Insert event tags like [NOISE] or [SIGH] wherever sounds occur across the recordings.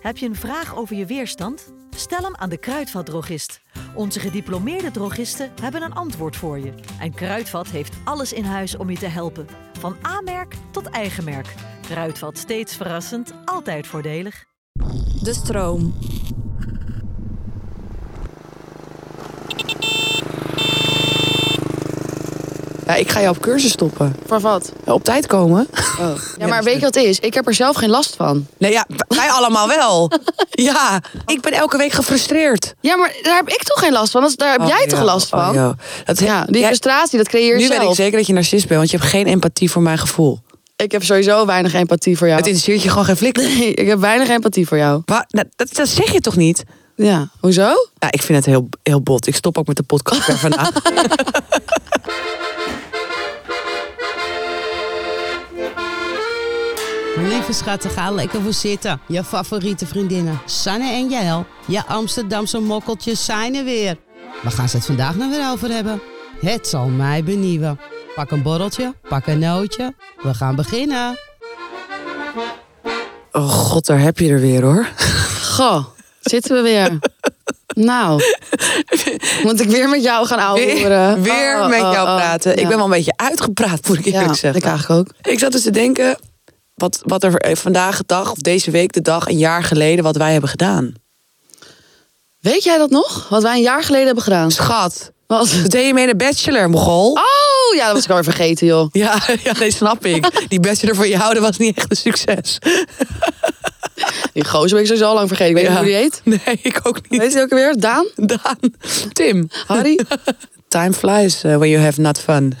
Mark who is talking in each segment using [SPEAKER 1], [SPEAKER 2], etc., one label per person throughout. [SPEAKER 1] Heb je een vraag over je weerstand? Stel hem aan de Kruidvatdrogist. Onze gediplomeerde drogisten hebben een antwoord voor je. En Kruidvat heeft alles in huis om je te helpen. Van A-merk tot eigen merk. Kruidvat steeds verrassend, altijd voordelig.
[SPEAKER 2] De stroom.
[SPEAKER 3] Ja, ik ga jou op cursus stoppen.
[SPEAKER 4] Voor wat?
[SPEAKER 3] Ja, Op tijd komen. [LAUGHS]
[SPEAKER 4] Ja,
[SPEAKER 3] dus
[SPEAKER 4] maar weet je wat het is? Ik heb er zelf geen last van.
[SPEAKER 3] Nee, ja, wij allemaal
[SPEAKER 4] [LAUGHS]
[SPEAKER 3] wel. Ja, ik ben elke week gefrustreerd.
[SPEAKER 4] Ja, maar daar heb ik toch geen last van? Dat is- Daar heb
[SPEAKER 3] Oh,
[SPEAKER 4] jij toch
[SPEAKER 3] ja.
[SPEAKER 4] last
[SPEAKER 3] Oh,
[SPEAKER 4] van?
[SPEAKER 3] ja. Dat he-
[SPEAKER 4] Ja, die
[SPEAKER 3] Jij-
[SPEAKER 4] frustratie, dat creëer je
[SPEAKER 3] nu
[SPEAKER 4] zelf.
[SPEAKER 3] weet ik zeker dat je narcist bent, want je hebt geen empathie voor mijn gevoel.
[SPEAKER 4] Ik heb sowieso weinig empathie voor jou.
[SPEAKER 3] Het interesseert je gewoon geen flikker.
[SPEAKER 4] Oh. Nee, [LAUGHS] ik heb weinig empathie voor jou.
[SPEAKER 3] Waar- nou, dat, dat zeg je toch niet?
[SPEAKER 4] Ja, hoezo?
[SPEAKER 3] Ja, ik vind het heel, heel bot. Ik stop ook met de podcast per
[SPEAKER 4] [LAUGHS]
[SPEAKER 3] vandaag.
[SPEAKER 5] Lieve schatten, ga lekker voor zitten. Je favoriete vriendinnen, Sanne en Jael. Je Amsterdamse mokkeltjes zijn er weer. Waar gaan ze het vandaag nou weer over hebben? Het zal mij benieuwen. Pak een borreltje, pak een nootje. We gaan beginnen.
[SPEAKER 3] Oh god, daar heb je er weer hoor.
[SPEAKER 4] Goh, zitten we
[SPEAKER 3] [LAUGHS]
[SPEAKER 4] weer. nou, moet ik weer met jou gaan ouwehoeren?
[SPEAKER 3] Weer, Eh, [LAUGHS] weer
[SPEAKER 4] Oh, oh,
[SPEAKER 3] met
[SPEAKER 4] oh,
[SPEAKER 3] jou
[SPEAKER 4] oh.
[SPEAKER 3] praten. Ik
[SPEAKER 4] Ja.
[SPEAKER 3] ben wel een beetje uitgepraat, moet ik
[SPEAKER 4] Ja,
[SPEAKER 3] eerlijk zeggen.
[SPEAKER 4] ik eigenlijk ook.
[SPEAKER 3] Ik zat dus te denken, wat, wat er eh, vandaag de dag, of deze week de dag, een jaar geleden, wat wij hebben gedaan.
[SPEAKER 4] Weet jij dat nog? Wat wij een jaar geleden hebben gedaan.
[SPEAKER 3] Dus Schat,
[SPEAKER 4] Wat?
[SPEAKER 3] dat deed je mee in de bachelor, mogol.
[SPEAKER 4] Oh, ja, dat was ik alweer vergeten, joh.
[SPEAKER 3] [LAUGHS] Ja, ja, nee, snap [LAUGHS] ik. Die bachelor voor jou, dat was niet echt een succes.
[SPEAKER 4] Die gozer ben ik sowieso al lang vergeten. Ik weet
[SPEAKER 3] Ja.
[SPEAKER 4] niet hoe die heet.
[SPEAKER 3] Nee, ik ook niet.
[SPEAKER 4] Weet je ook alweer? Daan?
[SPEAKER 3] Daan, Tim.
[SPEAKER 4] Harry?
[SPEAKER 3] [LAUGHS] Time flies eh, when you have not fun.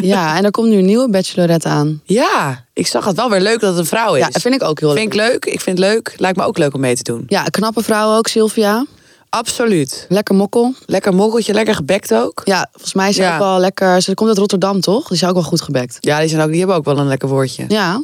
[SPEAKER 4] Ja, en er komt nu een nieuwe bachelorette aan.
[SPEAKER 3] [LAUGHS] ja, ik zag het wel weer leuk dat het een vrouw is.
[SPEAKER 4] Ja, dat vind ik ook heel leuk.
[SPEAKER 3] Vind ik leuk. Ik vind het leuk. Lijkt me ook leuk om mee te doen.
[SPEAKER 4] Ja, knappe vrouw ook, Sylvia.
[SPEAKER 3] Absoluut.
[SPEAKER 4] Lekker mokkel.
[SPEAKER 3] Lekker mokkeltje, lekker gebekt ook.
[SPEAKER 4] Ja, volgens mij is ze
[SPEAKER 3] Ja.
[SPEAKER 4] ook wel lekker. Ze komt uit Rotterdam, toch? Die is ook wel goed gebekt.
[SPEAKER 3] Ja, die, zijn ook, die hebben ook wel een lekker woordje.
[SPEAKER 4] Ja.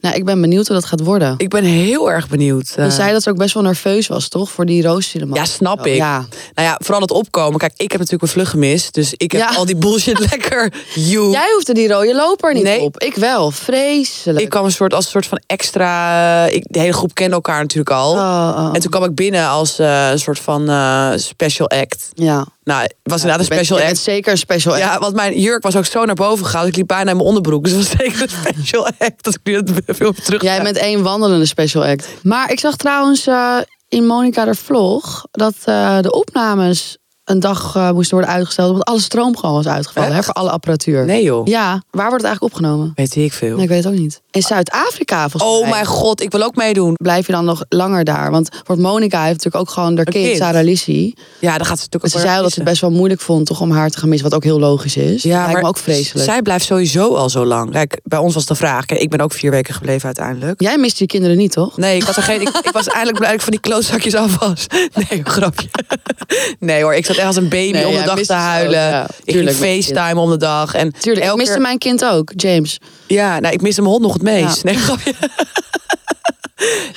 [SPEAKER 4] Nou, ik ben benieuwd hoe dat gaat worden.
[SPEAKER 3] Ik ben heel erg benieuwd. eh,
[SPEAKER 4] Je zei dat ze ook best wel nerveus was, toch? Voor die roosceremonie.
[SPEAKER 3] ja, snap ik.
[SPEAKER 4] Ja.
[SPEAKER 3] Nou ja, vooral het opkomen. Kijk, ik heb natuurlijk een vlucht gemist. Dus ik heb
[SPEAKER 4] Ja.
[SPEAKER 3] al die
[SPEAKER 4] [LAUGHS]
[SPEAKER 3] bullshit lekker. You.
[SPEAKER 4] Jij hoefde die rode loper niet
[SPEAKER 3] Nee.
[SPEAKER 4] op. Ik wel. Vreselijk.
[SPEAKER 3] Ik kwam een soort, als een soort van extra... eh, Ik, de hele groep kende elkaar natuurlijk al.
[SPEAKER 4] Oh, oh.
[SPEAKER 3] En toen kwam ik binnen als eh, een soort van eh, special act.
[SPEAKER 4] Ja.
[SPEAKER 3] Nou, het was
[SPEAKER 4] Je
[SPEAKER 3] inderdaad
[SPEAKER 4] bent-
[SPEAKER 3] een special
[SPEAKER 4] je
[SPEAKER 3] act.
[SPEAKER 4] bent zeker een special act.
[SPEAKER 3] Ja, want mijn jurk was ook zo naar boven gegaan. dat Ik liep bijna in mijn onderbroek. Dus dat was [LAUGHS] zeker een special act. Dat ik nu dat filmpje terug
[SPEAKER 4] Jij bent één wandelende special act. Maar ik zag trouwens eh, in Monica de Vlog dat eh, de opnames een dag eh, moesten worden uitgesteld. Omdat alle stroom gewoon was uitgevallen. Hè,
[SPEAKER 3] Echt?
[SPEAKER 4] voor alle apparatuur.
[SPEAKER 3] Nee joh.
[SPEAKER 4] Ja, waar wordt het eigenlijk opgenomen?
[SPEAKER 3] Weet ik veel.
[SPEAKER 4] Nee, ik weet het ook niet. In Zuid-Afrika volgens mij.
[SPEAKER 3] oh mijn god, ik wil ook meedoen.
[SPEAKER 4] Blijf je dan nog langer daar? Want voor Monica heeft natuurlijk ook gewoon haar
[SPEAKER 3] Een
[SPEAKER 4] kind,
[SPEAKER 3] kind.
[SPEAKER 4] Sarah Lissy.
[SPEAKER 3] Ja, dan gaat ze natuurlijk
[SPEAKER 4] Ze
[SPEAKER 3] ook
[SPEAKER 4] zei al
[SPEAKER 3] weer
[SPEAKER 4] dat ze het
[SPEAKER 3] missen.
[SPEAKER 4] best wel moeilijk vond toch om haar te gaan missen. Wat ook heel logisch is. Ja, Lijkt me ook vreselijk.
[SPEAKER 3] Zij blijft sowieso al zo lang. Kijk, bij ons was de vraag. Kijk, ik ben ook vier weken gebleven uiteindelijk.
[SPEAKER 4] Jij mist die kinderen niet, toch?
[SPEAKER 3] Nee, ik was, er geen, ik, ik was eindelijk blij dat ik van die klootzakjes af was. [LAUGHS] Nee, hoor, grapje. Nee hoor, ik zat echt als een baby
[SPEAKER 4] Nee,
[SPEAKER 3] om de
[SPEAKER 4] ja,
[SPEAKER 3] dag
[SPEAKER 4] mist
[SPEAKER 3] te
[SPEAKER 4] is zo,
[SPEAKER 3] huilen.
[SPEAKER 4] ja.
[SPEAKER 3] ik ging
[SPEAKER 4] Tuurlijk, met je
[SPEAKER 3] facetime om de dag. En
[SPEAKER 4] Tuurlijk, ik
[SPEAKER 3] elke
[SPEAKER 4] miste
[SPEAKER 3] keer-
[SPEAKER 4] mijn kind ook, James.
[SPEAKER 3] Ja, nou, ik miste mijn hond nog het meest.
[SPEAKER 4] Ja.
[SPEAKER 3] Nee, [LAUGHS] grapje.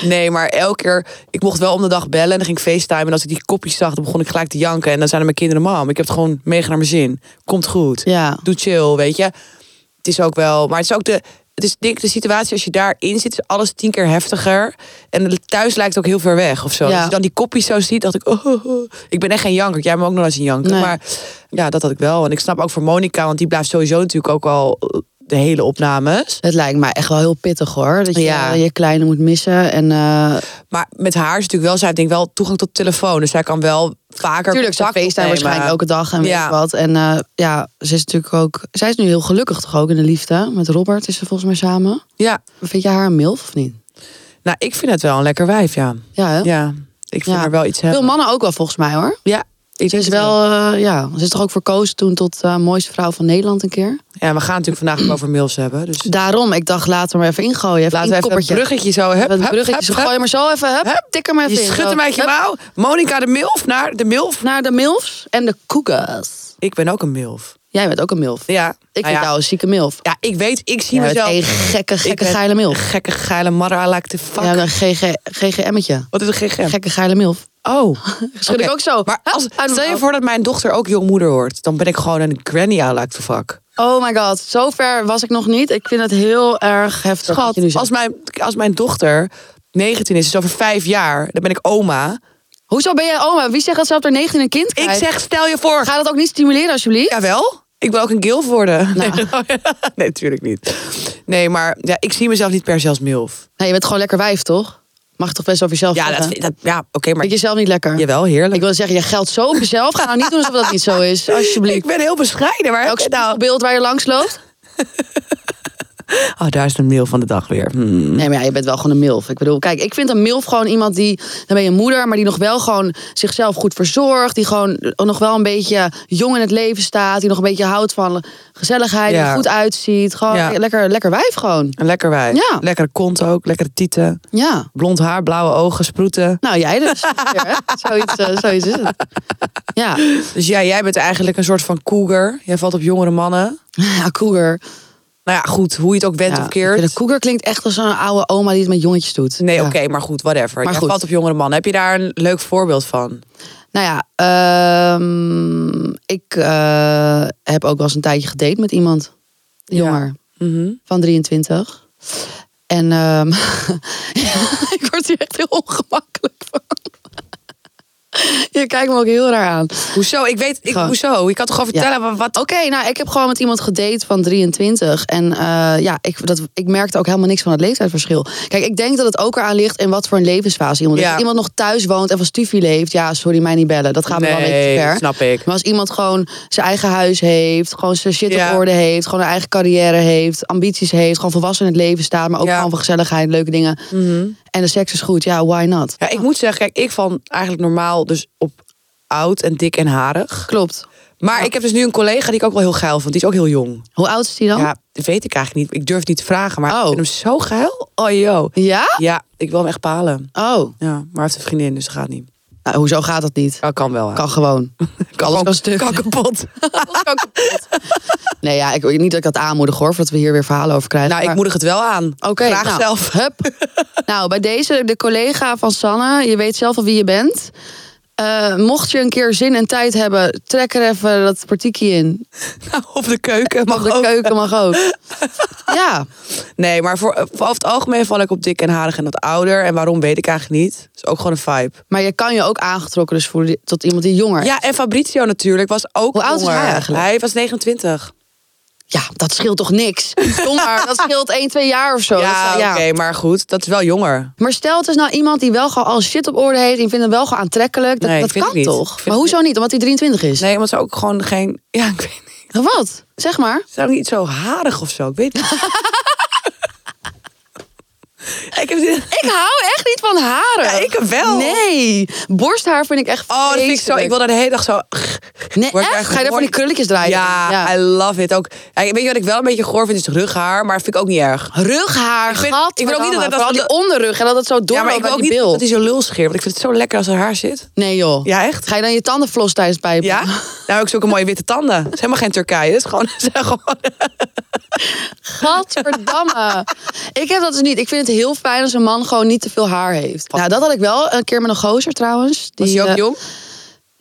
[SPEAKER 3] Nee, maar elke keer, ik mocht wel om de dag bellen en dan ging ik facetimen. En als ik die kopjes zag, dan begon ik gelijk te janken. En dan zeiden mijn kinderen, mam, ik heb het gewoon mega naar mijn zin. Komt goed.
[SPEAKER 4] Ja.
[SPEAKER 3] Doe chill, weet je. Het is ook wel, maar het is ook de, het is denk ik de situatie als je daarin zit, is alles tien keer heftiger. En thuis lijkt het ook heel ver weg of zo.
[SPEAKER 4] Ja.
[SPEAKER 3] Als je dan die kopjes zo ziet, dacht ik, oh, oh, oh. ik ben echt geen janker. Jij me ook nog wel eens een janker.
[SPEAKER 4] Nee.
[SPEAKER 3] Maar ja, dat had ik wel. En ik snap ook voor Monica, want die blijft sowieso natuurlijk ook al eh, de hele opnames.
[SPEAKER 4] Het lijkt mij echt wel heel pittig hoor. Dat je
[SPEAKER 3] Ja.
[SPEAKER 4] je kleine moet missen. En eh
[SPEAKER 3] Maar met haar is natuurlijk wel, zij heeft denk ik wel toegang tot telefoon. Dus zij kan wel vaker.
[SPEAKER 4] natuurlijk, ze
[SPEAKER 3] contact
[SPEAKER 4] FaceTime
[SPEAKER 3] opnemen.
[SPEAKER 4] waarschijnlijk elke dag en weet
[SPEAKER 3] Ja.
[SPEAKER 4] ik wat. En eh, ja, ze is natuurlijk ook. Zij is nu heel gelukkig toch ook in de liefde. Met Robert is ze volgens mij samen.
[SPEAKER 3] Ja,
[SPEAKER 4] Vind jij haar een milf of niet?
[SPEAKER 3] nou, ik vind het wel een lekker wijf, ja.
[SPEAKER 4] Ja, hè?
[SPEAKER 3] Ja, ik vind
[SPEAKER 4] Ja.
[SPEAKER 3] haar wel iets
[SPEAKER 4] Veel
[SPEAKER 3] hebben.
[SPEAKER 4] mannen ook wel volgens mij hoor.
[SPEAKER 3] Ja, ik
[SPEAKER 4] Ze
[SPEAKER 3] denk
[SPEAKER 4] is
[SPEAKER 3] het
[SPEAKER 4] wel, eh, ja, ze is toch ook verkozen toen tot eh, mooiste vrouw van Nederland een keer.
[SPEAKER 3] Ja, we gaan het natuurlijk vandaag ook over mails hebben. Dus
[SPEAKER 4] Daarom, ik dacht laten we maar even ingooien. Even
[SPEAKER 3] laten we even een
[SPEAKER 4] inkoppertje.
[SPEAKER 3] bruggetje zo. Hup,
[SPEAKER 4] Even
[SPEAKER 3] hup,
[SPEAKER 4] een bruggetje.
[SPEAKER 3] hup,
[SPEAKER 4] Zo,
[SPEAKER 3] hup.
[SPEAKER 4] gooi maar zo even, hup,
[SPEAKER 3] Hup.
[SPEAKER 4] tik er maar
[SPEAKER 3] Je
[SPEAKER 4] even in.
[SPEAKER 3] schudt
[SPEAKER 4] Zo,
[SPEAKER 3] hem uit je
[SPEAKER 4] hup.
[SPEAKER 3] mouw. Monica de milf naar de milf.
[SPEAKER 4] Naar de milfs en de cougars.
[SPEAKER 3] Ik ben ook een milf.
[SPEAKER 4] Jij bent ook een milf.
[SPEAKER 3] Ja.
[SPEAKER 4] Ik
[SPEAKER 3] Nou
[SPEAKER 4] vind
[SPEAKER 3] ja.
[SPEAKER 4] jou een zieke milf.
[SPEAKER 3] Ja, ik weet, ik zie
[SPEAKER 4] Jij bent
[SPEAKER 3] mezelf.
[SPEAKER 4] een gekke, gekke,
[SPEAKER 3] ben
[SPEAKER 4] geile milf.
[SPEAKER 3] Een gekke geile marra like the fuck.
[SPEAKER 4] Ja, een GG, GGM'tje.
[SPEAKER 3] Wat is een GGM?
[SPEAKER 4] Gekke geile milf.
[SPEAKER 3] Oh.
[SPEAKER 4] [LAUGHS] Schud ik
[SPEAKER 3] Oké.
[SPEAKER 4] ook zo.
[SPEAKER 3] Maar
[SPEAKER 4] Hup,
[SPEAKER 3] als,
[SPEAKER 4] uit mijn
[SPEAKER 3] stel je
[SPEAKER 4] mouw.
[SPEAKER 3] voor dat mijn dochter ook jongmoeder wordt. Dan ben ik gewoon een granny I like the fuck.
[SPEAKER 4] Oh my god, zo ver was ik nog niet. Ik vind het heel erg heftig. wat
[SPEAKER 3] Schat,
[SPEAKER 4] je nu zegt.
[SPEAKER 3] als mijn, als mijn dochter 19 is, dus over vijf jaar, dan ben ik oma.
[SPEAKER 4] Hoezo ben jij oma? Wie zegt dat ze op haar 19 een kind
[SPEAKER 3] Ik
[SPEAKER 4] krijgt?
[SPEAKER 3] zeg, stel je voor.
[SPEAKER 4] Ga dat ook niet stimuleren alsjeblieft?
[SPEAKER 3] Jawel, ik wil ook een gilf worden. Nee, [LAUGHS] oh nee, natuurlijk niet. Nee, maar ja, ik zie mezelf niet per se als milf.
[SPEAKER 4] Nee, je bent gewoon lekker wijf, toch? Mag je toch best over jezelf
[SPEAKER 3] Ja,
[SPEAKER 4] zeggen?
[SPEAKER 3] dat, vind- dat, ja oké, maar...
[SPEAKER 4] Vind je jezelf niet lekker?
[SPEAKER 3] Jawel, heerlijk.
[SPEAKER 4] Ik wil zeggen, je geldt zo op jezelf. Ga nou niet doen alsof dat niet zo is,
[SPEAKER 3] [LAUGHS]
[SPEAKER 4] alsjeblieft.
[SPEAKER 3] Ik ben heel bescheiden, maar...
[SPEAKER 4] Elk
[SPEAKER 3] nou,
[SPEAKER 4] beeld waar je langs loopt.
[SPEAKER 3] oh, daar is de mail van de dag weer. Hmm.
[SPEAKER 4] Nee, maar ja, je bent wel gewoon een milf. Ik bedoel, kijk, ik vind een milf gewoon iemand die... Dan ben je moeder, maar die nog wel gewoon zichzelf goed verzorgt. Die gewoon nog wel een beetje jong in het leven staat. Die nog een beetje houdt van gezelligheid. Die
[SPEAKER 3] Ja.
[SPEAKER 4] er goed uitziet. Gewoon
[SPEAKER 3] Ja.
[SPEAKER 4] lekker, lekker wijf gewoon.
[SPEAKER 3] Een lekker wij.
[SPEAKER 4] Ja.
[SPEAKER 3] Lekkere kont ook, lekkere tieten.
[SPEAKER 4] Ja.
[SPEAKER 3] Blond haar, blauwe ogen, sproeten.
[SPEAKER 4] Nou, jij dus. [LAUGHS] Ja, hè? zoiets, eh, zoiets is het.
[SPEAKER 3] [LAUGHS]
[SPEAKER 4] Ja,
[SPEAKER 3] Dus ja, jij bent eigenlijk een soort van cougar. Jij valt op jongere mannen.
[SPEAKER 4] ja cougar.
[SPEAKER 3] Nou ja, goed, hoe je het ook bent
[SPEAKER 4] Ja,
[SPEAKER 3] of
[SPEAKER 4] ik
[SPEAKER 3] keert.
[SPEAKER 4] vind Een cougar klinkt echt als een oude oma die het met jongetjes doet.
[SPEAKER 3] Nee,
[SPEAKER 4] Ja.
[SPEAKER 3] oké, maar goed, whatever.
[SPEAKER 4] Maar
[SPEAKER 3] jij
[SPEAKER 4] goed.
[SPEAKER 3] valt op jongere mannen. Heb je daar een leuk voorbeeld van?
[SPEAKER 4] Nou ja, ehm, ik eh, heb ook wel eens een tijdje gedate met iemand. Jonger,
[SPEAKER 3] Mhm.
[SPEAKER 4] van 23. En ehm, [LAUGHS] ik word hier echt heel ongemakkelijk van. Je kijkt me ook heel raar aan.
[SPEAKER 3] Hoezo? Ik weet, ik,
[SPEAKER 4] Gewoon-
[SPEAKER 3] hoezo? Ik kan toch gewoon
[SPEAKER 4] Ja.
[SPEAKER 3] vertellen wa- wat...
[SPEAKER 4] Oké, nou, ik heb gewoon met iemand gedate van 23. En eh, ja, ik, dat, ik merkte ook helemaal niks van het leeftijdsverschil. Kijk, ik denk dat het ook eraan ligt in wat voor een levensfase iemand is.
[SPEAKER 3] Ja.
[SPEAKER 4] Als iemand nog thuis woont en van stufie leeft, ja, sorry, mij niet bellen. Dat gaat me wel een beetje
[SPEAKER 3] Nee,
[SPEAKER 4] te ver.
[SPEAKER 3] snap ik.
[SPEAKER 4] Maar als iemand gewoon zijn eigen huis heeft, gewoon zijn shit
[SPEAKER 3] Ja.
[SPEAKER 4] op orde heeft, gewoon een eigen carrière heeft, ambities heeft, gewoon volwassen in het leven staat, maar ook
[SPEAKER 3] Ja. Mhm.
[SPEAKER 4] gewoon van gezelligheid, leuke dingen. En de seks is goed, ja, why not?
[SPEAKER 3] Ja, ik moet zeggen, kijk, ik val eigenlijk normaal dus op oud en dik en harig.
[SPEAKER 4] Klopt.
[SPEAKER 3] Maar ik heb dus nu een collega die ik ook wel heel geil vond. Die is ook heel jong.
[SPEAKER 4] Hoe oud is die dan?
[SPEAKER 3] Ja, dat weet ik eigenlijk niet. Ik durf het niet te vragen, maar
[SPEAKER 4] Oh.
[SPEAKER 3] ik vind hem zo geil. Oh, joh.
[SPEAKER 4] Ja?
[SPEAKER 3] Ja, ik wil hem echt palen.
[SPEAKER 4] Oh,
[SPEAKER 3] Ja, maar hij heeft een vriendin, dus dat gaat niet.
[SPEAKER 4] nou, hoezo gaat dat niet?
[SPEAKER 3] Ja, kan wel. hè.
[SPEAKER 4] Kan
[SPEAKER 3] [LAUGHS]
[SPEAKER 4] gewoon. alles
[SPEAKER 3] gewoon-
[SPEAKER 4] kan stuk.
[SPEAKER 3] Kan kapot.
[SPEAKER 4] [LAUGHS] Nee, ja, ik, niet dat ik dat aanmoedig hoor, voordat we hier weer verhalen over krijgen.
[SPEAKER 3] nou, ik
[SPEAKER 4] maar-
[SPEAKER 3] moedig het wel aan.
[SPEAKER 4] Oké,
[SPEAKER 3] Vraag
[SPEAKER 4] nou,
[SPEAKER 3] zelf.
[SPEAKER 4] Hup. [LAUGHS]
[SPEAKER 3] [LAUGHS]
[SPEAKER 4] nou, bij deze, de collega van Sanne, je weet zelf al wie je bent. Eh, mocht je een keer zin en tijd hebben, trek er even dat partiekie in.
[SPEAKER 3] of de keuken mag
[SPEAKER 4] Mag de
[SPEAKER 3] ook.
[SPEAKER 4] keuken mag ook.
[SPEAKER 3] [LAUGHS]
[SPEAKER 4] ja,
[SPEAKER 3] Nee, maar voor, voor over het algemeen val ik op dik en harig en wat ouder. En waarom weet ik eigenlijk niet. Het is ook gewoon een vibe.
[SPEAKER 4] maar je kan je ook aangetrokken dus voelen die- tot iemand die jonger is.
[SPEAKER 3] Ja, en Fabrizio natuurlijk was ook
[SPEAKER 4] Hoe oud is
[SPEAKER 3] jonger.
[SPEAKER 4] hij eigenlijk?
[SPEAKER 3] Hij was 29.
[SPEAKER 4] Ja, dat scheelt toch niks? Jonger, dat scheelt 1, 2 jaar of zo. Dat
[SPEAKER 3] ja,
[SPEAKER 4] is-
[SPEAKER 3] oké, maar goed. Dat is wel jonger.
[SPEAKER 4] Maar stel, het is nou iemand die wel gewoon al shit op orde heeft... en vindt hem wel gewoon aantrekkelijk. Dat,
[SPEAKER 3] Nee,
[SPEAKER 4] dat
[SPEAKER 3] vind
[SPEAKER 4] kan
[SPEAKER 3] ik niet. Ik
[SPEAKER 4] toch?
[SPEAKER 3] vind
[SPEAKER 4] Maar
[SPEAKER 3] het
[SPEAKER 4] hoezo niet? Omdat hij 23 is? Nou,
[SPEAKER 3] Nee, want ze ook gewoon geen... Ja, ik weet niet.
[SPEAKER 4] Wat? Zeg maar.
[SPEAKER 3] Ze zijn ook niet zo harig of zo. Ik weet het niet. [LAUGHS] ik heb dit...
[SPEAKER 4] Ik hou echt niet van haren.
[SPEAKER 3] Ja, ik wel.
[SPEAKER 4] Nee, borsthaar vind ik echt
[SPEAKER 3] Oh, dat vind ik zo...
[SPEAKER 4] vreselijk.
[SPEAKER 3] Ik wil daar de hele dag zo...
[SPEAKER 4] Nee,
[SPEAKER 3] Word ik
[SPEAKER 4] echt?
[SPEAKER 3] echt
[SPEAKER 4] Ga je daar van
[SPEAKER 3] mooi-
[SPEAKER 4] die krulletjes draaien?
[SPEAKER 3] Ja, I love it. Ook, ja, weet je wat ik wel een beetje goor vind? Is rughaar, maar vind ik ook niet erg.
[SPEAKER 4] Rughaar,
[SPEAKER 3] Ik vind-
[SPEAKER 4] gat.
[SPEAKER 3] ik wil ook niet dat- dat-
[SPEAKER 4] Vooral die onderrug en dat het zo door
[SPEAKER 3] Ja, maar ik wil ook
[SPEAKER 4] die
[SPEAKER 3] niet
[SPEAKER 4] bil.
[SPEAKER 3] dat hij zo lul scheert. Want ik vind het zo lekker als er haar zit.
[SPEAKER 4] Nee joh.
[SPEAKER 3] Ja, echt?
[SPEAKER 4] Ga je dan je tanden flossen tijdens het pijpen?
[SPEAKER 3] Ja? [LAUGHS] Nou, ik zoek een mooie witte tanden. Het is helemaal geen Turkije. Het is gewoon... [LAUGHS] Het zijn gewoon
[SPEAKER 4] [LAUGHS] Gadverdamme. ik heb dat dus niet. Ik vind het heel fijn als een man gewoon niet te veel haar heeft. Nou, dat had ik wel een keer met een gozer trouwens. Die,
[SPEAKER 3] was hij ook
[SPEAKER 4] eh,
[SPEAKER 3] jong?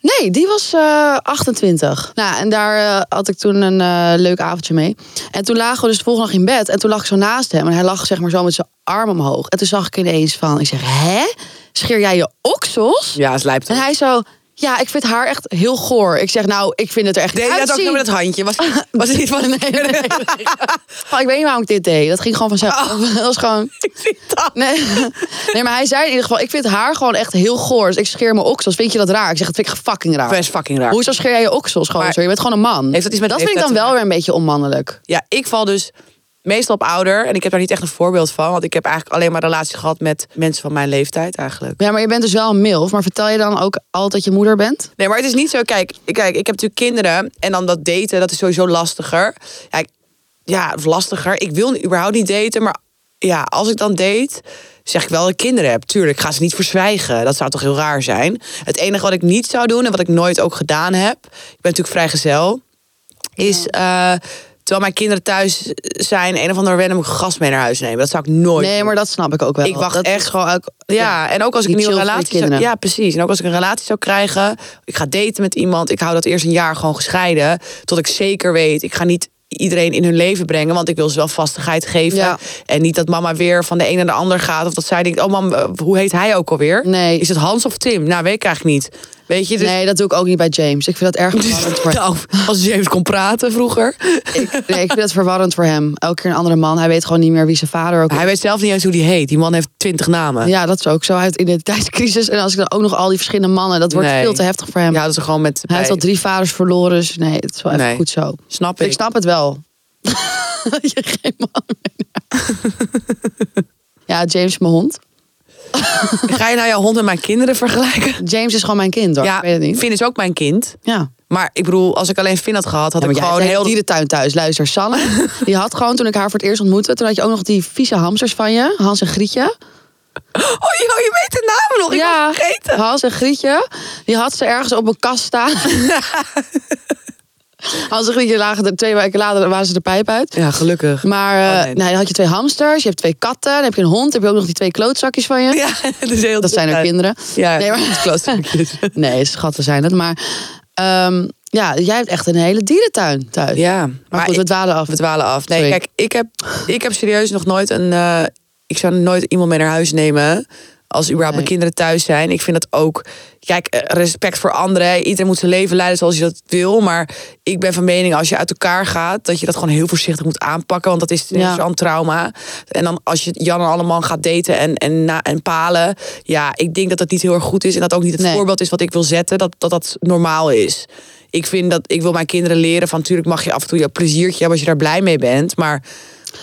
[SPEAKER 4] Nee, die was eh, 28. Nou, en daar eh, had ik toen een eh, leuk avondje mee. En toen lagen we dus de volgende dag in bed. En toen lag ik zo naast hem. En hij lag zeg maar zo met zijn arm omhoog. En toen zag ik ineens van, ik zeg, hè? Scheer jij je oksels?
[SPEAKER 3] Ja, het lijkt
[SPEAKER 4] En hij zo, ja, ik vind haar echt heel goor. Ik zeg, nou, ik vind het er echt
[SPEAKER 3] Deed
[SPEAKER 4] niet
[SPEAKER 3] hij dat ook
[SPEAKER 4] uitzien.
[SPEAKER 3] nog met het handje? Was,
[SPEAKER 4] [LAUGHS]
[SPEAKER 3] was het niet van...
[SPEAKER 4] Nee, nee, nee. Maar ik weet niet waarom ik dit deed. Dat ging gewoon vanzelf.
[SPEAKER 3] Oh.
[SPEAKER 4] [LAUGHS] Dat was gewoon...
[SPEAKER 3] [LAUGHS] Ik zie dat.
[SPEAKER 4] Nee. [LAUGHS] nee, maar hij zei in ieder geval, ik vind haar gewoon echt heel goor. Dus ik scheer mijn oksels. Vind je dat raar? Ik zeg, dat vind ik fucking raar.
[SPEAKER 3] Best fucking raar.
[SPEAKER 4] Hoezo scheer jij je oksels gewoon
[SPEAKER 3] Maar-
[SPEAKER 4] zo? Je bent gewoon een man.
[SPEAKER 3] Heeft dat iets met
[SPEAKER 4] vind ik
[SPEAKER 3] leeftijd
[SPEAKER 4] dan
[SPEAKER 3] te
[SPEAKER 4] wel
[SPEAKER 3] maken?
[SPEAKER 4] weer een beetje onmannelijk.
[SPEAKER 3] Ja, ik val dus meestal op ouder. En ik heb daar niet echt een voorbeeld van. Want ik heb eigenlijk alleen maar relaties gehad met mensen van mijn leeftijd eigenlijk.
[SPEAKER 4] Ja, maar je bent dus wel een milf. Maar vertel je dan ook altijd dat je moeder bent?
[SPEAKER 3] Nee, maar het is niet zo. Kijk, ik- kijk, ik heb natuurlijk kinderen. En dan dat daten, dat is sowieso lastiger. Ja, ik- ja of lastiger. Ik wil überhaupt niet daten. Maar ja, als ik dan date, zeg ik wel dat ik kinderen heb. Tuurlijk, ik ga ze niet verzwijgen. Dat zou toch heel raar zijn. Het enige wat ik niet zou doen en wat ik nooit ook gedaan heb. Ik ben natuurlijk vrijgezel. Is eh, terwijl mijn kinderen thuis zijn, een of ander random gast mee naar huis nemen. Dat zou ik nooit
[SPEAKER 4] Nee,
[SPEAKER 3] doen.
[SPEAKER 4] maar dat snap ik ook wel.
[SPEAKER 3] Ik wacht
[SPEAKER 4] dat
[SPEAKER 3] echt-
[SPEAKER 4] is gewoon ook...
[SPEAKER 3] Ja, en ook als ik
[SPEAKER 4] Die
[SPEAKER 3] een nieuwe
[SPEAKER 4] chill voor de
[SPEAKER 3] relatie zou,
[SPEAKER 4] kinderen.
[SPEAKER 3] Ja, precies. En ook als ik een relatie zou krijgen, ik ga daten met iemand, ik hou dat eerst een jaar gewoon gescheiden, tot ik zeker weet, ik ga niet iedereen in hun leven brengen. Want ik wil ze wel vastigheid geven.
[SPEAKER 4] Ja.
[SPEAKER 3] En niet dat mama weer van de een naar de ander gaat. Of dat zij denkt, oh mam, eh, hoe heet hij ook alweer?
[SPEAKER 4] Nee.
[SPEAKER 3] Is het Hans of Tim? Nou, weet ik eigenlijk niet. Weet je, dus... [LAUGHS]
[SPEAKER 4] Nee, dat doe ik ook niet bij James. Ik vind dat erg verwarrend voor
[SPEAKER 3] Nou, als James kon praten
[SPEAKER 4] [LAUGHS]
[SPEAKER 3] vroeger.
[SPEAKER 4] ik, nee, ik vind dat verwarrend voor hem. Elke keer een andere man. Hij weet gewoon niet meer wie zijn vader ook
[SPEAKER 3] Hij weet zelf niet eens hoe die heet. Die man heeft twintig namen.
[SPEAKER 4] Ja, dat is ook zo. Hij heeft identiteitscrisis. En als ik dan ook nog al die verschillende mannen... dat wordt
[SPEAKER 3] Nee.
[SPEAKER 4] veel te heftig voor hem.
[SPEAKER 3] Ja, dat is gewoon met...
[SPEAKER 4] Hij heeft al drie vaders verloren. Dus nee, het is wel even
[SPEAKER 3] Nee.
[SPEAKER 4] goed zo.
[SPEAKER 3] Snap
[SPEAKER 4] Ik,
[SPEAKER 3] ik.
[SPEAKER 4] snap het wel. [LAUGHS] je geen man meer. ja, James is mijn hond.
[SPEAKER 3] [LAUGHS] Ga je nou jouw hond en mijn kinderen vergelijken?
[SPEAKER 4] James is gewoon mijn kind, hoor. ik weet het niet.
[SPEAKER 3] Finn is ook mijn kind.
[SPEAKER 4] Ja.
[SPEAKER 3] Maar ik bedoel, als ik alleen Finn had gehad, had
[SPEAKER 4] Ja,
[SPEAKER 3] ik
[SPEAKER 4] maar jij
[SPEAKER 3] gewoon
[SPEAKER 4] hebt
[SPEAKER 3] heel...
[SPEAKER 4] een dierentuin thuis. Luister, Sanne,
[SPEAKER 3] [LAUGHS]
[SPEAKER 4] die had gewoon toen ik haar voor het eerst ontmoette... toen had je ook nog die vieze hamsters van je, Hans en Grietje.
[SPEAKER 3] Oh, joh, je weet de namen nog. Oh, Ik was het vergeten.
[SPEAKER 4] Hans en Grietje, die had ze ergens op een kast
[SPEAKER 3] [LAUGHS]
[SPEAKER 4] staan. Hans en Grietje lagen er twee weken later, waren ze de pijp uit.
[SPEAKER 3] Ja, gelukkig.
[SPEAKER 4] Maar eh,
[SPEAKER 3] Oh, nee.
[SPEAKER 4] nee. dan had je twee hamsters, je hebt twee katten, dan heb je een hond, dan heb je ook nog die twee klootzakjes van je.
[SPEAKER 3] [LAUGHS] Ja, [LAUGHS] dat is heel
[SPEAKER 4] Dat zijn haar
[SPEAKER 3] dom.
[SPEAKER 4] kinderen.
[SPEAKER 3] Ja, [LAUGHS]
[SPEAKER 4] Nee, maar-
[SPEAKER 3] het klootzakjes.
[SPEAKER 4] [LAUGHS] Nee, schatten zijn het. Maar ehm, ja, jij hebt echt een hele dierentuin thuis.
[SPEAKER 3] Ja, maar,
[SPEAKER 4] Maar goed,
[SPEAKER 3] ik-
[SPEAKER 4] we dwalen af.
[SPEAKER 3] we dwalen af. Nee,
[SPEAKER 4] Sorry.
[SPEAKER 3] kijk, ik heb, ik heb serieus nog nooit een... eh, ik zou nooit iemand mee naar huis nemen... Als überhaupt
[SPEAKER 4] Nee.
[SPEAKER 3] mijn kinderen thuis zijn. Ik vind dat ook... Kijk, eh, respect voor anderen. Iedereen moet zijn leven leiden zoals je dat wil. Maar ik ben van mening, als je uit elkaar gaat... dat je dat gewoon heel voorzichtig moet aanpakken. Want dat is
[SPEAKER 4] Ja.
[SPEAKER 3] ja. zo'n trauma. En dan als je Jan en allemaal gaat daten en, en, na, en palen... ja, ik denk dat dat niet heel erg goed is. En dat ook niet het
[SPEAKER 4] Nee.
[SPEAKER 3] voorbeeld is wat ik wil zetten. Dat dat, dat normaal is. Ik vind dat ik wil mijn kinderen leren van natuurlijk mag je af en toe je pleziertje hebben als je daar blij mee bent, maar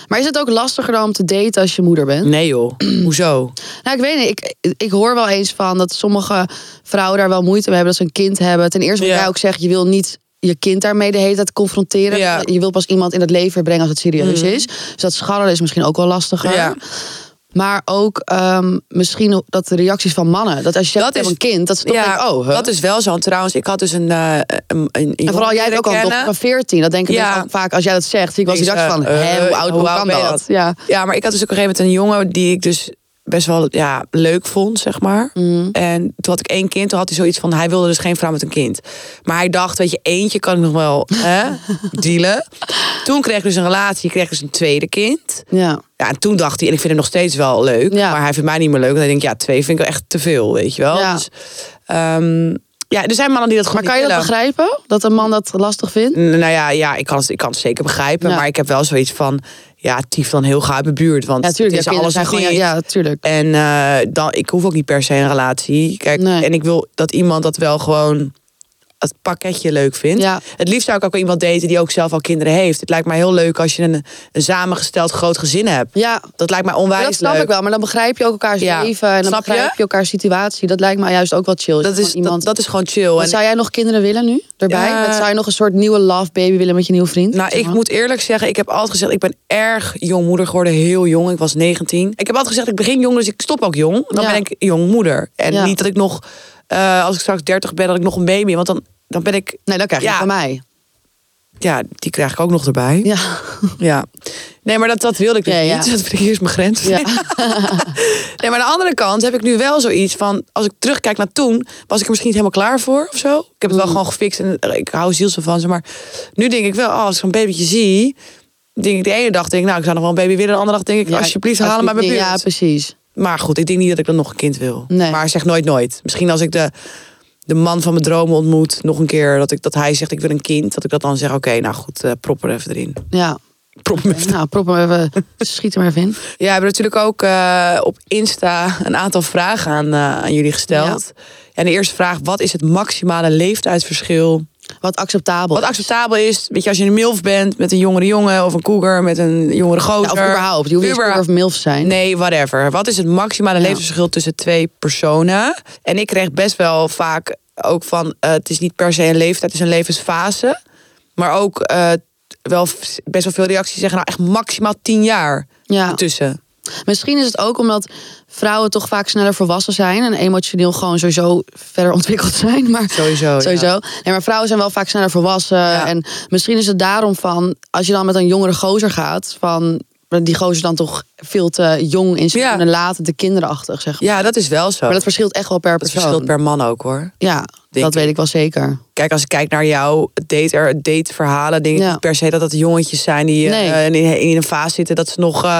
[SPEAKER 4] Maar is het ook lastiger dan om te daten als je moeder bent?
[SPEAKER 3] nee joh, [CLEARS THROAT] hoezo?
[SPEAKER 4] Nou, ik weet niet. Ik, ik hoor wel eens van dat sommige vrouwen daar wel moeite mee hebben dat ze een kind hebben. Ten eerste wat
[SPEAKER 3] Ja.
[SPEAKER 4] jij ook zegt, je wil niet je kind daarmee de hele tijd confronteren.
[SPEAKER 3] Ja. Mhm.
[SPEAKER 4] Je wil pas iemand in het leven brengen als het serieus is. Dus dat scharrelen is misschien ook wel lastiger.
[SPEAKER 3] Ja.
[SPEAKER 4] Maar ook ehm, misschien dat de reacties van mannen. Dat als je zegt,
[SPEAKER 3] Dat
[SPEAKER 4] ik heb
[SPEAKER 3] is-
[SPEAKER 4] een kind, dat is toch denk ik, oh, hè?
[SPEAKER 3] dat is wel zo. En trouwens, ik had dus een, eh, een, een
[SPEAKER 4] En vooral jij hebt ook al een dochter van 14. Dat denken
[SPEAKER 3] Ja.
[SPEAKER 4] mensen ook vaak als jij dat zegt. zie Ik was die
[SPEAKER 3] Denken
[SPEAKER 4] dag van,
[SPEAKER 3] ze, eh,
[SPEAKER 4] hè, hoe oud, hoe kan
[SPEAKER 3] ben je
[SPEAKER 4] dat?
[SPEAKER 3] dat?
[SPEAKER 4] Ja.
[SPEAKER 3] Ja, maar ik had dus ook op een gegeven moment een jongen die ik dus best wel ja, leuk vond, zeg maar.
[SPEAKER 4] Mhm.
[SPEAKER 3] En toen had ik één kind, toen had hij zoiets van, hij wilde dus geen vrouw met een kind. Maar hij dacht, weet je, eentje kan ik nog wel
[SPEAKER 4] [LAUGHS]
[SPEAKER 3] hè, dealen. Toen kreeg ik dus een relatie, kreeg ik dus een tweede kind.
[SPEAKER 4] ja.
[SPEAKER 3] Ja, en toen dacht hij, en ik vind hem nog steeds wel leuk,
[SPEAKER 4] Ja.
[SPEAKER 3] maar hij vindt mij niet meer leuk. En dan denk ik, ja, twee vind ik wel echt te veel, weet je wel.
[SPEAKER 4] Ja.
[SPEAKER 3] Dus, ehm, ja, er zijn mannen die dat gewoon
[SPEAKER 4] Maar kan je
[SPEAKER 3] niet willen.
[SPEAKER 4] dat begrijpen? Dat een man dat lastig vindt?
[SPEAKER 3] N- Nou ja, ja ik, kan het, ik kan het zeker begrijpen,
[SPEAKER 4] Ja.
[SPEAKER 3] maar ik heb wel zoiets van, ja, tief dan heel gauw uit mijn buurt. Want
[SPEAKER 4] Ja, tuurlijk.
[SPEAKER 3] het
[SPEAKER 4] Ja,
[SPEAKER 3] is
[SPEAKER 4] kinderen
[SPEAKER 3] alles
[SPEAKER 4] zijn
[SPEAKER 3] of
[SPEAKER 4] gewoon, ja,
[SPEAKER 3] niets.
[SPEAKER 4] ja, tuurlijk.
[SPEAKER 3] En eh, dan, ik hoef ook niet per se een relatie. Kijk,
[SPEAKER 4] Nee.
[SPEAKER 3] en ik wil dat iemand dat wel gewoon het pakketje leuk vindt.
[SPEAKER 4] Ja.
[SPEAKER 3] Het liefst zou ik ook wel iemand daten die ook zelf al kinderen heeft. Het lijkt mij heel leuk als je een, een samengesteld groot gezin hebt.
[SPEAKER 4] Ja,
[SPEAKER 3] Dat lijkt mij onwijs
[SPEAKER 4] dat snap
[SPEAKER 3] leuk.
[SPEAKER 4] ik wel. Maar dan begrijp je ook elkaars
[SPEAKER 3] Ja,
[SPEAKER 4] leven. En dan
[SPEAKER 3] snap je?
[SPEAKER 4] begrijp je elkaars situatie. Dat lijkt mij juist ook wel chill.
[SPEAKER 3] Dat is,
[SPEAKER 4] Gewoon iemand...
[SPEAKER 3] dat, dat is gewoon chill.
[SPEAKER 4] Want
[SPEAKER 3] En,
[SPEAKER 4] Zou jij nog kinderen willen nu? Daarbij?
[SPEAKER 3] Ja.
[SPEAKER 4] Wat Zou je nog een soort nieuwe love baby willen met je nieuwe vriend?
[SPEAKER 3] nou,
[SPEAKER 4] Zeg
[SPEAKER 3] ik
[SPEAKER 4] maar.
[SPEAKER 3] moet eerlijk zeggen, ik heb altijd gezegd, ik ben erg jong moeder geworden, heel jong. Ik was 19. Ik heb altijd gezegd, ik begin jong, dus ik stop ook jong. Dan
[SPEAKER 4] Ja.
[SPEAKER 3] ben ik jong moeder. En
[SPEAKER 4] Ja.
[SPEAKER 3] niet dat ik nog, eh, als ik straks 30 ben, dat ik nog een baby. Want dan, dan ben ik,
[SPEAKER 4] Nee, dat krijg je
[SPEAKER 3] Ja.
[SPEAKER 4] van mij.
[SPEAKER 3] ja, die krijg ik ook nog erbij. Ja.
[SPEAKER 4] Ja.
[SPEAKER 3] Nee, maar dat, dat wilde ik dus
[SPEAKER 4] Ja, ja.
[SPEAKER 3] niet. [LAUGHS] Dat vind ik eerst mijn grens.
[SPEAKER 4] Ja.
[SPEAKER 3] [LAUGHS] Nee, maar aan de andere kant heb ik nu wel zoiets van... als ik terugkijk naar toen, was ik er misschien niet helemaal klaar voor of zo. Ik heb
[SPEAKER 4] Mm.
[SPEAKER 3] het wel gewoon gefixt en eh, ik hou ziels van ze. Maar nu denk ik wel, oh, als ik zo'n babytje zie... denk ik de ene dag, denk ik, nou, ik zou nog wel een baby willen. De andere dag denk ik,
[SPEAKER 4] Ja,
[SPEAKER 3] alsjeblieft, haal hem maar mijn
[SPEAKER 4] alsjeblieft.
[SPEAKER 3] buurt.
[SPEAKER 4] Ja, precies.
[SPEAKER 3] maar goed, ik denk niet dat ik dan nog een kind wil.
[SPEAKER 4] Nee.
[SPEAKER 3] Maar zeg nooit nooit. Misschien als ik de, de man van mijn dromen ontmoet nog een keer... Dat, ik, dat hij zegt, ik wil een kind. Dat ik dat dan zeg, oké, nou goed, eh prop er even erin.
[SPEAKER 4] Ja.
[SPEAKER 3] Prop me even
[SPEAKER 4] Nou, prop hem even.
[SPEAKER 3] [LAUGHS]
[SPEAKER 4] Schiet hem even in.
[SPEAKER 3] Ja, we hebben natuurlijk ook eh, op Insta een aantal vragen aan, eh, aan jullie gesteld. En de eerste vraag, wat is het maximale leeftijdsverschil?
[SPEAKER 4] Wat acceptabel.
[SPEAKER 3] Wat acceptabel is, weet je, als je een milf bent met een jongere jongen... of een cougar met een jongere
[SPEAKER 4] Ja,
[SPEAKER 3] gozer.
[SPEAKER 4] Nou, of überhaupt. Je hoeft niet eens
[SPEAKER 3] Überha-
[SPEAKER 4] cougar of milf te zijn.
[SPEAKER 3] Nee, whatever. Wat is het maximale leeftijdsverschil tussen twee personen? En ik kreeg best wel vaak ook van... eh, het is niet per se een leeftijd, het is een levensfase. Maar ook eh, wel f- best wel veel reacties zeggen... nou, echt maximaal tien jaar
[SPEAKER 4] Ja.
[SPEAKER 3] ertussen.
[SPEAKER 4] Misschien is het ook omdat vrouwen toch vaak sneller volwassen zijn en emotioneel gewoon sowieso verder ontwikkeld zijn. Maar
[SPEAKER 3] Sowieso, ja.
[SPEAKER 4] sowieso. Nee, maar vrouwen zijn wel vaak sneller volwassen. En misschien is het daarom van, als je dan met een jongere gozer gaat, van die gozer dan toch veel te jong in zijn
[SPEAKER 3] Ja.
[SPEAKER 4] doen en later te kinderachtig, zeg maar.
[SPEAKER 3] Ja, dat is wel zo.
[SPEAKER 4] Maar dat verschilt echt wel per
[SPEAKER 3] Dat
[SPEAKER 4] persoon.
[SPEAKER 3] verschilt per man ook hoor.
[SPEAKER 4] Ja,
[SPEAKER 3] denk
[SPEAKER 4] dat weet ik wel zeker.
[SPEAKER 3] Kijk, als ik kijk naar jouw date, er- dateverhalen, denk ik
[SPEAKER 4] Ja.
[SPEAKER 3] niet per se dat dat jongetjes zijn die eh,
[SPEAKER 4] Nee.
[SPEAKER 3] in, in een fase zitten dat ze nog, eh,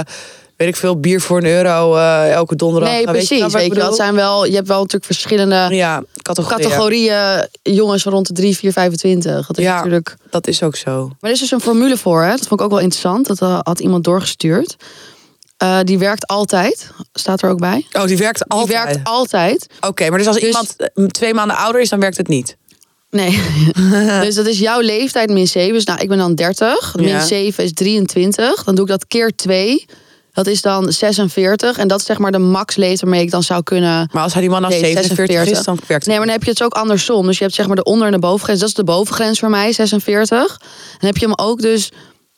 [SPEAKER 3] weet ik veel, bier voor een euro eh, elke donderdag.
[SPEAKER 4] Nee,
[SPEAKER 3] eh,
[SPEAKER 4] precies. Weet je,
[SPEAKER 3] wel wat ik
[SPEAKER 4] wel, het
[SPEAKER 3] bedoel?
[SPEAKER 4] zijn wel, je hebt wel natuurlijk verschillende
[SPEAKER 3] Ja, categorieën.
[SPEAKER 4] categorieën jongens van rond de 3, 4, 25. Dat is
[SPEAKER 3] Ja.
[SPEAKER 4] natuurlijk.
[SPEAKER 3] Dat is ook zo.
[SPEAKER 4] Maar er is dus een formule voor, hè? dat vond ik ook wel interessant. Dat eh, had iemand doorgestuurd. Eh, die werkt altijd, staat er ook bij.
[SPEAKER 3] Oh, die werkt
[SPEAKER 4] Die
[SPEAKER 3] altijd.
[SPEAKER 4] werkt altijd.
[SPEAKER 3] Oké, maar dus als
[SPEAKER 4] Dus-
[SPEAKER 3] iemand eh, twee maanden ouder is, dan werkt het niet. [LAUGHS]
[SPEAKER 4] Nee. dus dat is jouw leeftijd min 7. Dus nou, ik ben dan 30. Min
[SPEAKER 3] Ja.
[SPEAKER 4] 7 is 23. Dan doe ik dat keer 2. Dat is dan 46. En dat is zeg maar de max leeftijd waarmee ik dan zou kunnen.
[SPEAKER 3] Maar als hij die man als
[SPEAKER 4] Nee,
[SPEAKER 3] 47 is,
[SPEAKER 4] 46.
[SPEAKER 3] dan werkt het
[SPEAKER 4] Nee, maar dan heb je het ook andersom. Dus je hebt zeg maar de onder- en de bovengrens. Dat is de bovengrens voor mij, 46. En dan heb je hem ook dus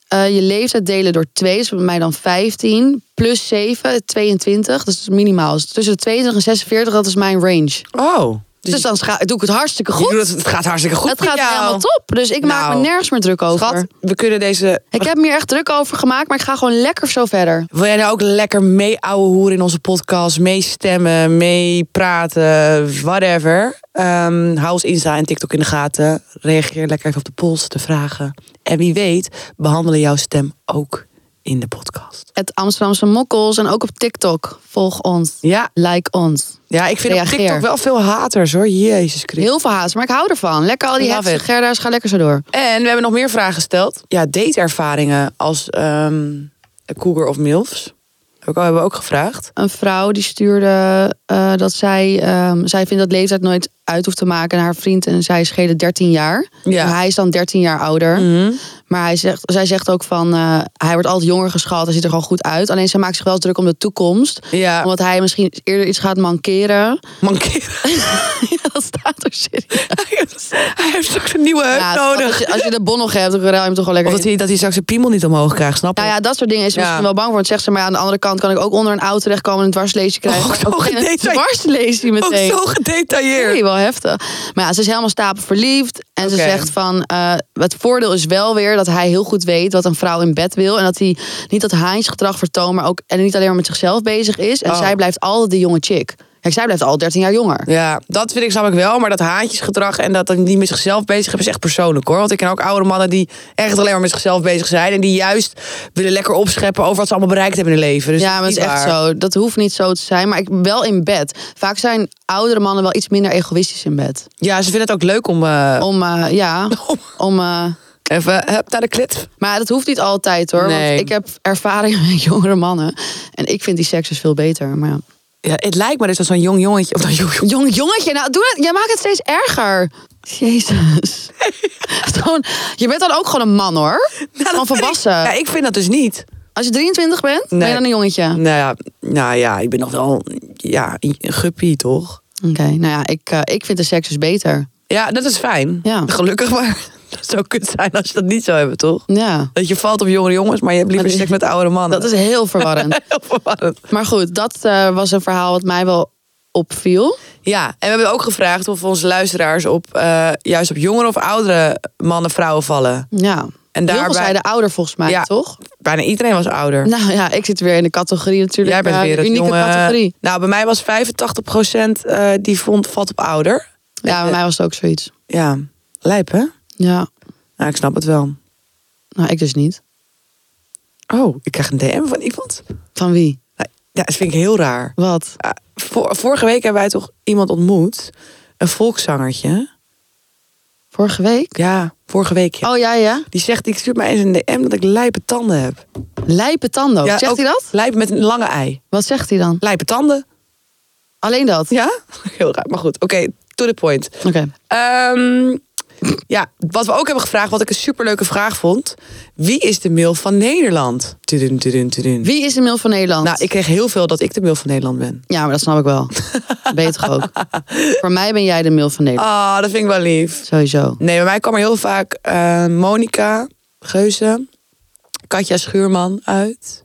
[SPEAKER 4] eh, je leeftijd delen door 2. Is bij mij dan 15. Plus 7, 22. Dat is minimaal. Dus tussen de 22 en 46, dat is mijn range.
[SPEAKER 3] Oh,
[SPEAKER 4] Dus,
[SPEAKER 3] dus,
[SPEAKER 4] dan scha- doe ik het hartstikke
[SPEAKER 3] je
[SPEAKER 4] goed.
[SPEAKER 3] doet het, het gaat hartstikke goed
[SPEAKER 4] Het
[SPEAKER 3] met
[SPEAKER 4] gaat
[SPEAKER 3] jou.
[SPEAKER 4] helemaal top. Dus ik maak
[SPEAKER 3] Nou,
[SPEAKER 4] me nergens meer druk over.
[SPEAKER 3] Schat, we kunnen deze...
[SPEAKER 4] Ik heb me hier echt druk over gemaakt, maar ik ga gewoon lekker zo verder.
[SPEAKER 3] Wil jij nou ook lekker mee ouwe hoeren in onze podcast? Meestemmen, meepraten, whatever. Ehm, hou ons Insta en TikTok in de gaten. Reageer lekker even op de polls, de vragen. En wie weet, behandelen jouw stem ook in de podcast.
[SPEAKER 4] Het Amsterdamse mokkels en ook op TikTok. Volg ons.
[SPEAKER 3] Ja,
[SPEAKER 4] Like ons.
[SPEAKER 3] ja ik vind op
[SPEAKER 4] Reageer.
[SPEAKER 3] TikTok wel veel haters hoor. Jezus Christus.
[SPEAKER 4] Heel veel haast, maar ik hou ervan. Lekker al die
[SPEAKER 3] Love
[SPEAKER 4] heftige
[SPEAKER 3] it.
[SPEAKER 4] gerders, ga lekker zo door.
[SPEAKER 3] En we hebben nog meer vragen gesteld. Ja, dateervaringen als ehm cougar of milfs. Ook al hebben we ook gevraagd.
[SPEAKER 4] Een vrouw die stuurde eh, dat zij... ehm, zij vindt dat leeftijd nooit uit hoeft te maken. En haar vriend en zij schelen 13 jaar.
[SPEAKER 3] Ja.
[SPEAKER 4] Maar Hij is dan 13 jaar ouder. Maar hij zegt, zij zegt ook van... eh, hij wordt altijd jonger geschat, hij ziet er gewoon goed uit. Alleen zij maakt zich wel eens druk om de toekomst.
[SPEAKER 3] Ja,
[SPEAKER 4] Omdat hij misschien eerder iets gaat mankeren.
[SPEAKER 3] mankeren.
[SPEAKER 4] [LAUGHS] Ja, dat staat er serieus.
[SPEAKER 3] [LAUGHS] Hij heeft ook een nieuwe heup
[SPEAKER 4] Ja, schat,
[SPEAKER 3] nodig.
[SPEAKER 4] Als je, als je de bon nog hebt, dan ruil je hem toch wel lekker
[SPEAKER 3] Of
[SPEAKER 4] in.
[SPEAKER 3] dat hij, dat hij straks zijn piemel niet omhoog krijgt, snap je?
[SPEAKER 4] Nou ja, dat soort dingen is ze
[SPEAKER 3] Ja.
[SPEAKER 4] misschien wel bang voor. Want zegt ze, maar ja, aan de andere kant kan ik ook onder een auto terechtkomen en een dwarsleesje krijgen.
[SPEAKER 3] Oh, [LAUGHS] zo
[SPEAKER 4] Ook een
[SPEAKER 3] gedetailleerd.
[SPEAKER 4] dwarsleesje
[SPEAKER 3] ook
[SPEAKER 4] meteen.
[SPEAKER 3] Oh, zo gedetailleerd.
[SPEAKER 4] Nee, wel heftig. Maar ja, ze is helemaal stapelverliefd. En ze
[SPEAKER 3] Oké.
[SPEAKER 4] zegt van, eh, het voordeel is wel weer dat hij heel goed weet wat een vrouw in bed wil. En dat hij niet dat haantjesgedrag vertoont, maar ook en niet alleen maar met zichzelf bezig is. En
[SPEAKER 3] Oh.
[SPEAKER 4] zij blijft altijd de jonge chick. Kijk, zij blijft al 13 jaar jonger.
[SPEAKER 3] Ja, dat vind ik snap ik wel. Maar dat haantjesgedrag en dat dat die met zichzelf bezig hebben, is echt persoonlijk hoor. Want ik ken ook oude mannen die echt alleen maar met zichzelf bezig zijn. En die juist willen lekker opscheppen over wat ze allemaal bereikt hebben in hun leven. Dus
[SPEAKER 4] ja, maar dat is
[SPEAKER 3] niet
[SPEAKER 4] echt
[SPEAKER 3] waar.
[SPEAKER 4] zo. Dat hoeft niet zo te zijn. Maar ik wel in bed. Vaak zijn oudere mannen wel iets minder egoïstisch in bed.
[SPEAKER 3] Ja, ze vinden het ook leuk om eh,
[SPEAKER 4] Om, eh,
[SPEAKER 3] [LAUGHS]
[SPEAKER 4] ja,
[SPEAKER 3] Oh.
[SPEAKER 4] om... eh,
[SPEAKER 3] even hup, naar de klit.
[SPEAKER 4] maar dat hoeft niet altijd hoor.
[SPEAKER 3] Nee.
[SPEAKER 4] Want ik heb ervaring [LAUGHS] met jongere mannen. En ik vind die seks dus veel beter. Maar ja.
[SPEAKER 3] Ja, het lijkt me dus dat zo'n jong jongetje... Of dat jong, jong-
[SPEAKER 4] Jong jongetje, nou doe het. Jij maakt het steeds erger.
[SPEAKER 3] [LAUGHS]
[SPEAKER 4] Jezus. Gewoon, je bent dan ook gewoon een man hoor.
[SPEAKER 3] Nou,
[SPEAKER 4] Gewoon
[SPEAKER 3] dat vind
[SPEAKER 4] volwassen.
[SPEAKER 3] Ik, ja, ik vind dat dus niet.
[SPEAKER 4] Als je 23 bent, ben
[SPEAKER 3] Nee.
[SPEAKER 4] je dan een jongetje.
[SPEAKER 3] Nou ja, nou ja ik ben nog wel ja, een guppie, toch?
[SPEAKER 4] Oké, nou ja, ik, eh, ik vind de seks dus beter.
[SPEAKER 3] Ja, dat is fijn.
[SPEAKER 4] Ja.
[SPEAKER 3] Gelukkig, maar [LAUGHS] dat zou kut zijn als je dat niet zou hebben, toch?
[SPEAKER 4] Ja.
[SPEAKER 3] Dat je valt op jongere jongens, maar je hebt liever
[SPEAKER 4] Maar die-
[SPEAKER 3] seks met oudere mannen.
[SPEAKER 4] Dat is heel verwarrend.
[SPEAKER 3] [LAUGHS] heel verwarrend.
[SPEAKER 4] Maar goed, dat eh, was een verhaal wat mij wel opviel.
[SPEAKER 3] Ja, en we hebben ook gevraagd of onze luisteraars op eh, juist op jongere of oudere mannen, vrouwen vallen.
[SPEAKER 4] Ja. En
[SPEAKER 3] daarbij-
[SPEAKER 4] Heel veel zeiden ouder volgens mij,
[SPEAKER 3] Ja.
[SPEAKER 4] toch?
[SPEAKER 3] Bijna iedereen was ouder.
[SPEAKER 4] Nou ja, ik zit weer in de categorie natuurlijk.
[SPEAKER 3] Jij bent
[SPEAKER 4] eh,
[SPEAKER 3] weer
[SPEAKER 4] de
[SPEAKER 3] het
[SPEAKER 4] unieke
[SPEAKER 3] jonge-
[SPEAKER 4] categorie.
[SPEAKER 3] Nou, bij mij was 85% eh, die vond valt op ouder.
[SPEAKER 4] Ja, bij mij was het ook zoiets.
[SPEAKER 3] Ja, lijp hè?
[SPEAKER 4] Ja,
[SPEAKER 3] Nou, ik snap het wel.
[SPEAKER 4] nou ik dus niet.
[SPEAKER 3] Oh, ik krijg een DM van iemand.
[SPEAKER 4] Van wie?
[SPEAKER 3] Nou, ja, dat vind ik heel raar.
[SPEAKER 4] Wat?
[SPEAKER 3] Ah, vor- vorige week hebben wij toch iemand ontmoet. Een volkszangertje.
[SPEAKER 4] Vorige week?
[SPEAKER 3] Ja, vorige week. ja.
[SPEAKER 4] Oh ja, ja.
[SPEAKER 3] Die zegt, ik stuurt mij eens een DM dat ik lijpe tanden heb.
[SPEAKER 4] Lijpe tanden. ook.
[SPEAKER 3] Ja,
[SPEAKER 4] Oh. zegt
[SPEAKER 3] ook
[SPEAKER 4] hij dat?
[SPEAKER 3] Lijp met een lange ei.
[SPEAKER 4] Wat zegt hij dan?
[SPEAKER 3] Lijpe tanden.
[SPEAKER 4] Alleen dat?
[SPEAKER 3] Ja? [LAUGHS] Heel raar, maar goed. Oké, to the point.
[SPEAKER 4] Oké.
[SPEAKER 3] Ehm, ja, wat we ook hebben gevraagd, wat ik een superleuke vraag vond. Wie is de mail van Nederland? Tudun, tudun, tudun.
[SPEAKER 4] Wie is de mail van Nederland?
[SPEAKER 3] Nou, ik kreeg heel veel dat ik de mail van Nederland ben.
[SPEAKER 4] Ja, maar dat snap ik
[SPEAKER 3] [LAUGHS]
[SPEAKER 4] wel. ben je toch ook? Voor mij ben jij de mail van
[SPEAKER 3] Ah,
[SPEAKER 4] Nederland.
[SPEAKER 3] dat vind ik wel lief.
[SPEAKER 4] Sowieso.
[SPEAKER 3] Nee, bij mij kwam er heel vaak eh Monika, Geuze, Katja Schuurman uit.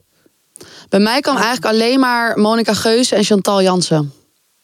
[SPEAKER 4] Bij mij kwam eigenlijk alleen maar Monica Geuze en Chantal Jansen.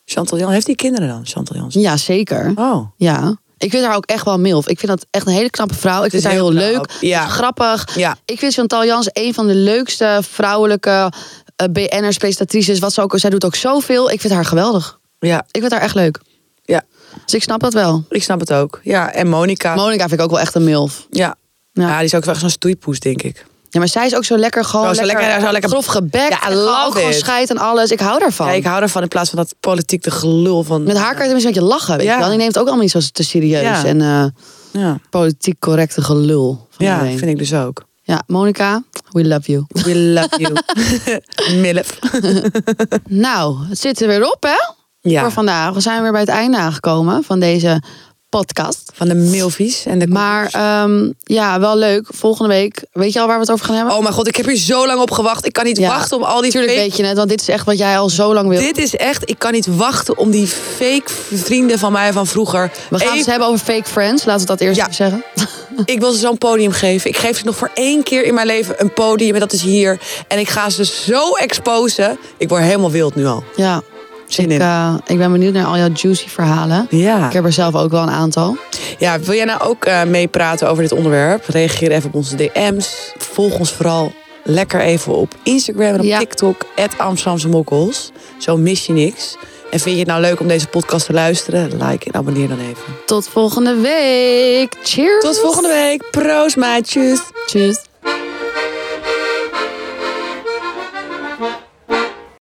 [SPEAKER 3] Chantal Jan, heeft die kinderen dan? Chantal Jans.
[SPEAKER 4] Ja, zeker.
[SPEAKER 3] Oh.
[SPEAKER 4] Ja. Ik vind haar ook echt wel milf. Ik vind dat echt een hele knappe vrouw. Ik
[SPEAKER 3] is
[SPEAKER 4] vind haar heel
[SPEAKER 3] heel knap,
[SPEAKER 4] leuk,
[SPEAKER 3] ja.
[SPEAKER 4] grappig.
[SPEAKER 3] Ja.
[SPEAKER 4] Ik vind Chantal Jans een van de leukste vrouwelijke eh, BN'ers, presentatrices. Wat ze ook, zij doet ook zoveel. Ik vind haar geweldig.
[SPEAKER 3] Ja,
[SPEAKER 4] Ik vind haar echt leuk.
[SPEAKER 3] Ja.
[SPEAKER 4] Dus ik snap dat wel.
[SPEAKER 3] Ik snap het ook. Ja, en Monica.
[SPEAKER 4] Monica vind ik ook wel echt een milf.
[SPEAKER 3] ja.
[SPEAKER 4] Ja.
[SPEAKER 3] Ja. die is ook wel echt zo'n stoeipoes, denk ik.
[SPEAKER 4] Ja, maar zij is ook zo lekker gewoon
[SPEAKER 3] Oh, zo
[SPEAKER 4] lekker,
[SPEAKER 3] lekker- zo lekker-
[SPEAKER 4] grof gebekt.
[SPEAKER 3] Ja, I
[SPEAKER 4] en
[SPEAKER 3] love
[SPEAKER 4] ook gewoon
[SPEAKER 3] it.
[SPEAKER 4] scheid en alles. Ik hou daarvan.
[SPEAKER 3] Ja, ik hou ervan in plaats van dat politiek de gelul van...
[SPEAKER 4] Met haar kan je tenminste een beetje lachen, weet
[SPEAKER 3] Ja.
[SPEAKER 4] je wel. Die neemt het ook allemaal niet zo te serieus.
[SPEAKER 3] Ja.
[SPEAKER 4] En eh,
[SPEAKER 3] Ja,
[SPEAKER 4] politiek correcte gelul. Van
[SPEAKER 3] ja
[SPEAKER 4] iedereen.
[SPEAKER 3] vind ik dus ook.
[SPEAKER 4] ja Monica, we love you.
[SPEAKER 3] We love [LAUGHS] you. Milf.
[SPEAKER 4] Nou, het zit er weer op, hè?
[SPEAKER 3] Ja,
[SPEAKER 4] Voor
[SPEAKER 3] van,
[SPEAKER 4] vandaag. We zijn weer bij het einde aangekomen van deze podcast.
[SPEAKER 3] de milfies en de...
[SPEAKER 4] Maar ehm, ja, wel leuk. Volgende week, weet je al waar we het over gaan hebben?
[SPEAKER 3] Oh mijn god, ik heb hier zo lang op gewacht. Ik kan niet
[SPEAKER 4] Ja.
[SPEAKER 3] wachten om al die
[SPEAKER 4] Natuurlijk
[SPEAKER 3] fake...
[SPEAKER 4] weet je het, want dit is echt wat jij al zo lang wil.
[SPEAKER 3] Dit is echt... Ik kan niet wachten om die fake vrienden van mij van vroeger...
[SPEAKER 4] We gaan het eens
[SPEAKER 3] Even-
[SPEAKER 4] hebben over fake friends. Laten we dat eerst
[SPEAKER 3] Ja.
[SPEAKER 4] even zeggen.
[SPEAKER 3] Ik wil ze zo'n podium geven. Ik geef ze nog voor één keer in mijn leven een podium. En dat is hier. En ik ga ze zo exposen. Ik word helemaal wild nu al.
[SPEAKER 4] Ja.
[SPEAKER 3] Zin
[SPEAKER 4] ik,
[SPEAKER 3] in.
[SPEAKER 4] eh, ik ben benieuwd naar al jouw juicy verhalen.
[SPEAKER 3] Ja.
[SPEAKER 4] Ik heb er zelf ook wel een aantal.
[SPEAKER 3] ja, wil jij nou ook eh, meepraten over dit onderwerp? Reageer even op onze DM's. Volg ons vooral lekker even op Instagram en op
[SPEAKER 4] Ja.
[SPEAKER 3] TikTok. Het Amsterdamse Mokkels. Zo mis je niks. En vind je het nou leuk om deze podcast te luisteren? Like en abonneer dan even.
[SPEAKER 4] Tot volgende week. Cheers.
[SPEAKER 3] Tot volgende week. Proost maatjes.
[SPEAKER 4] Tjus.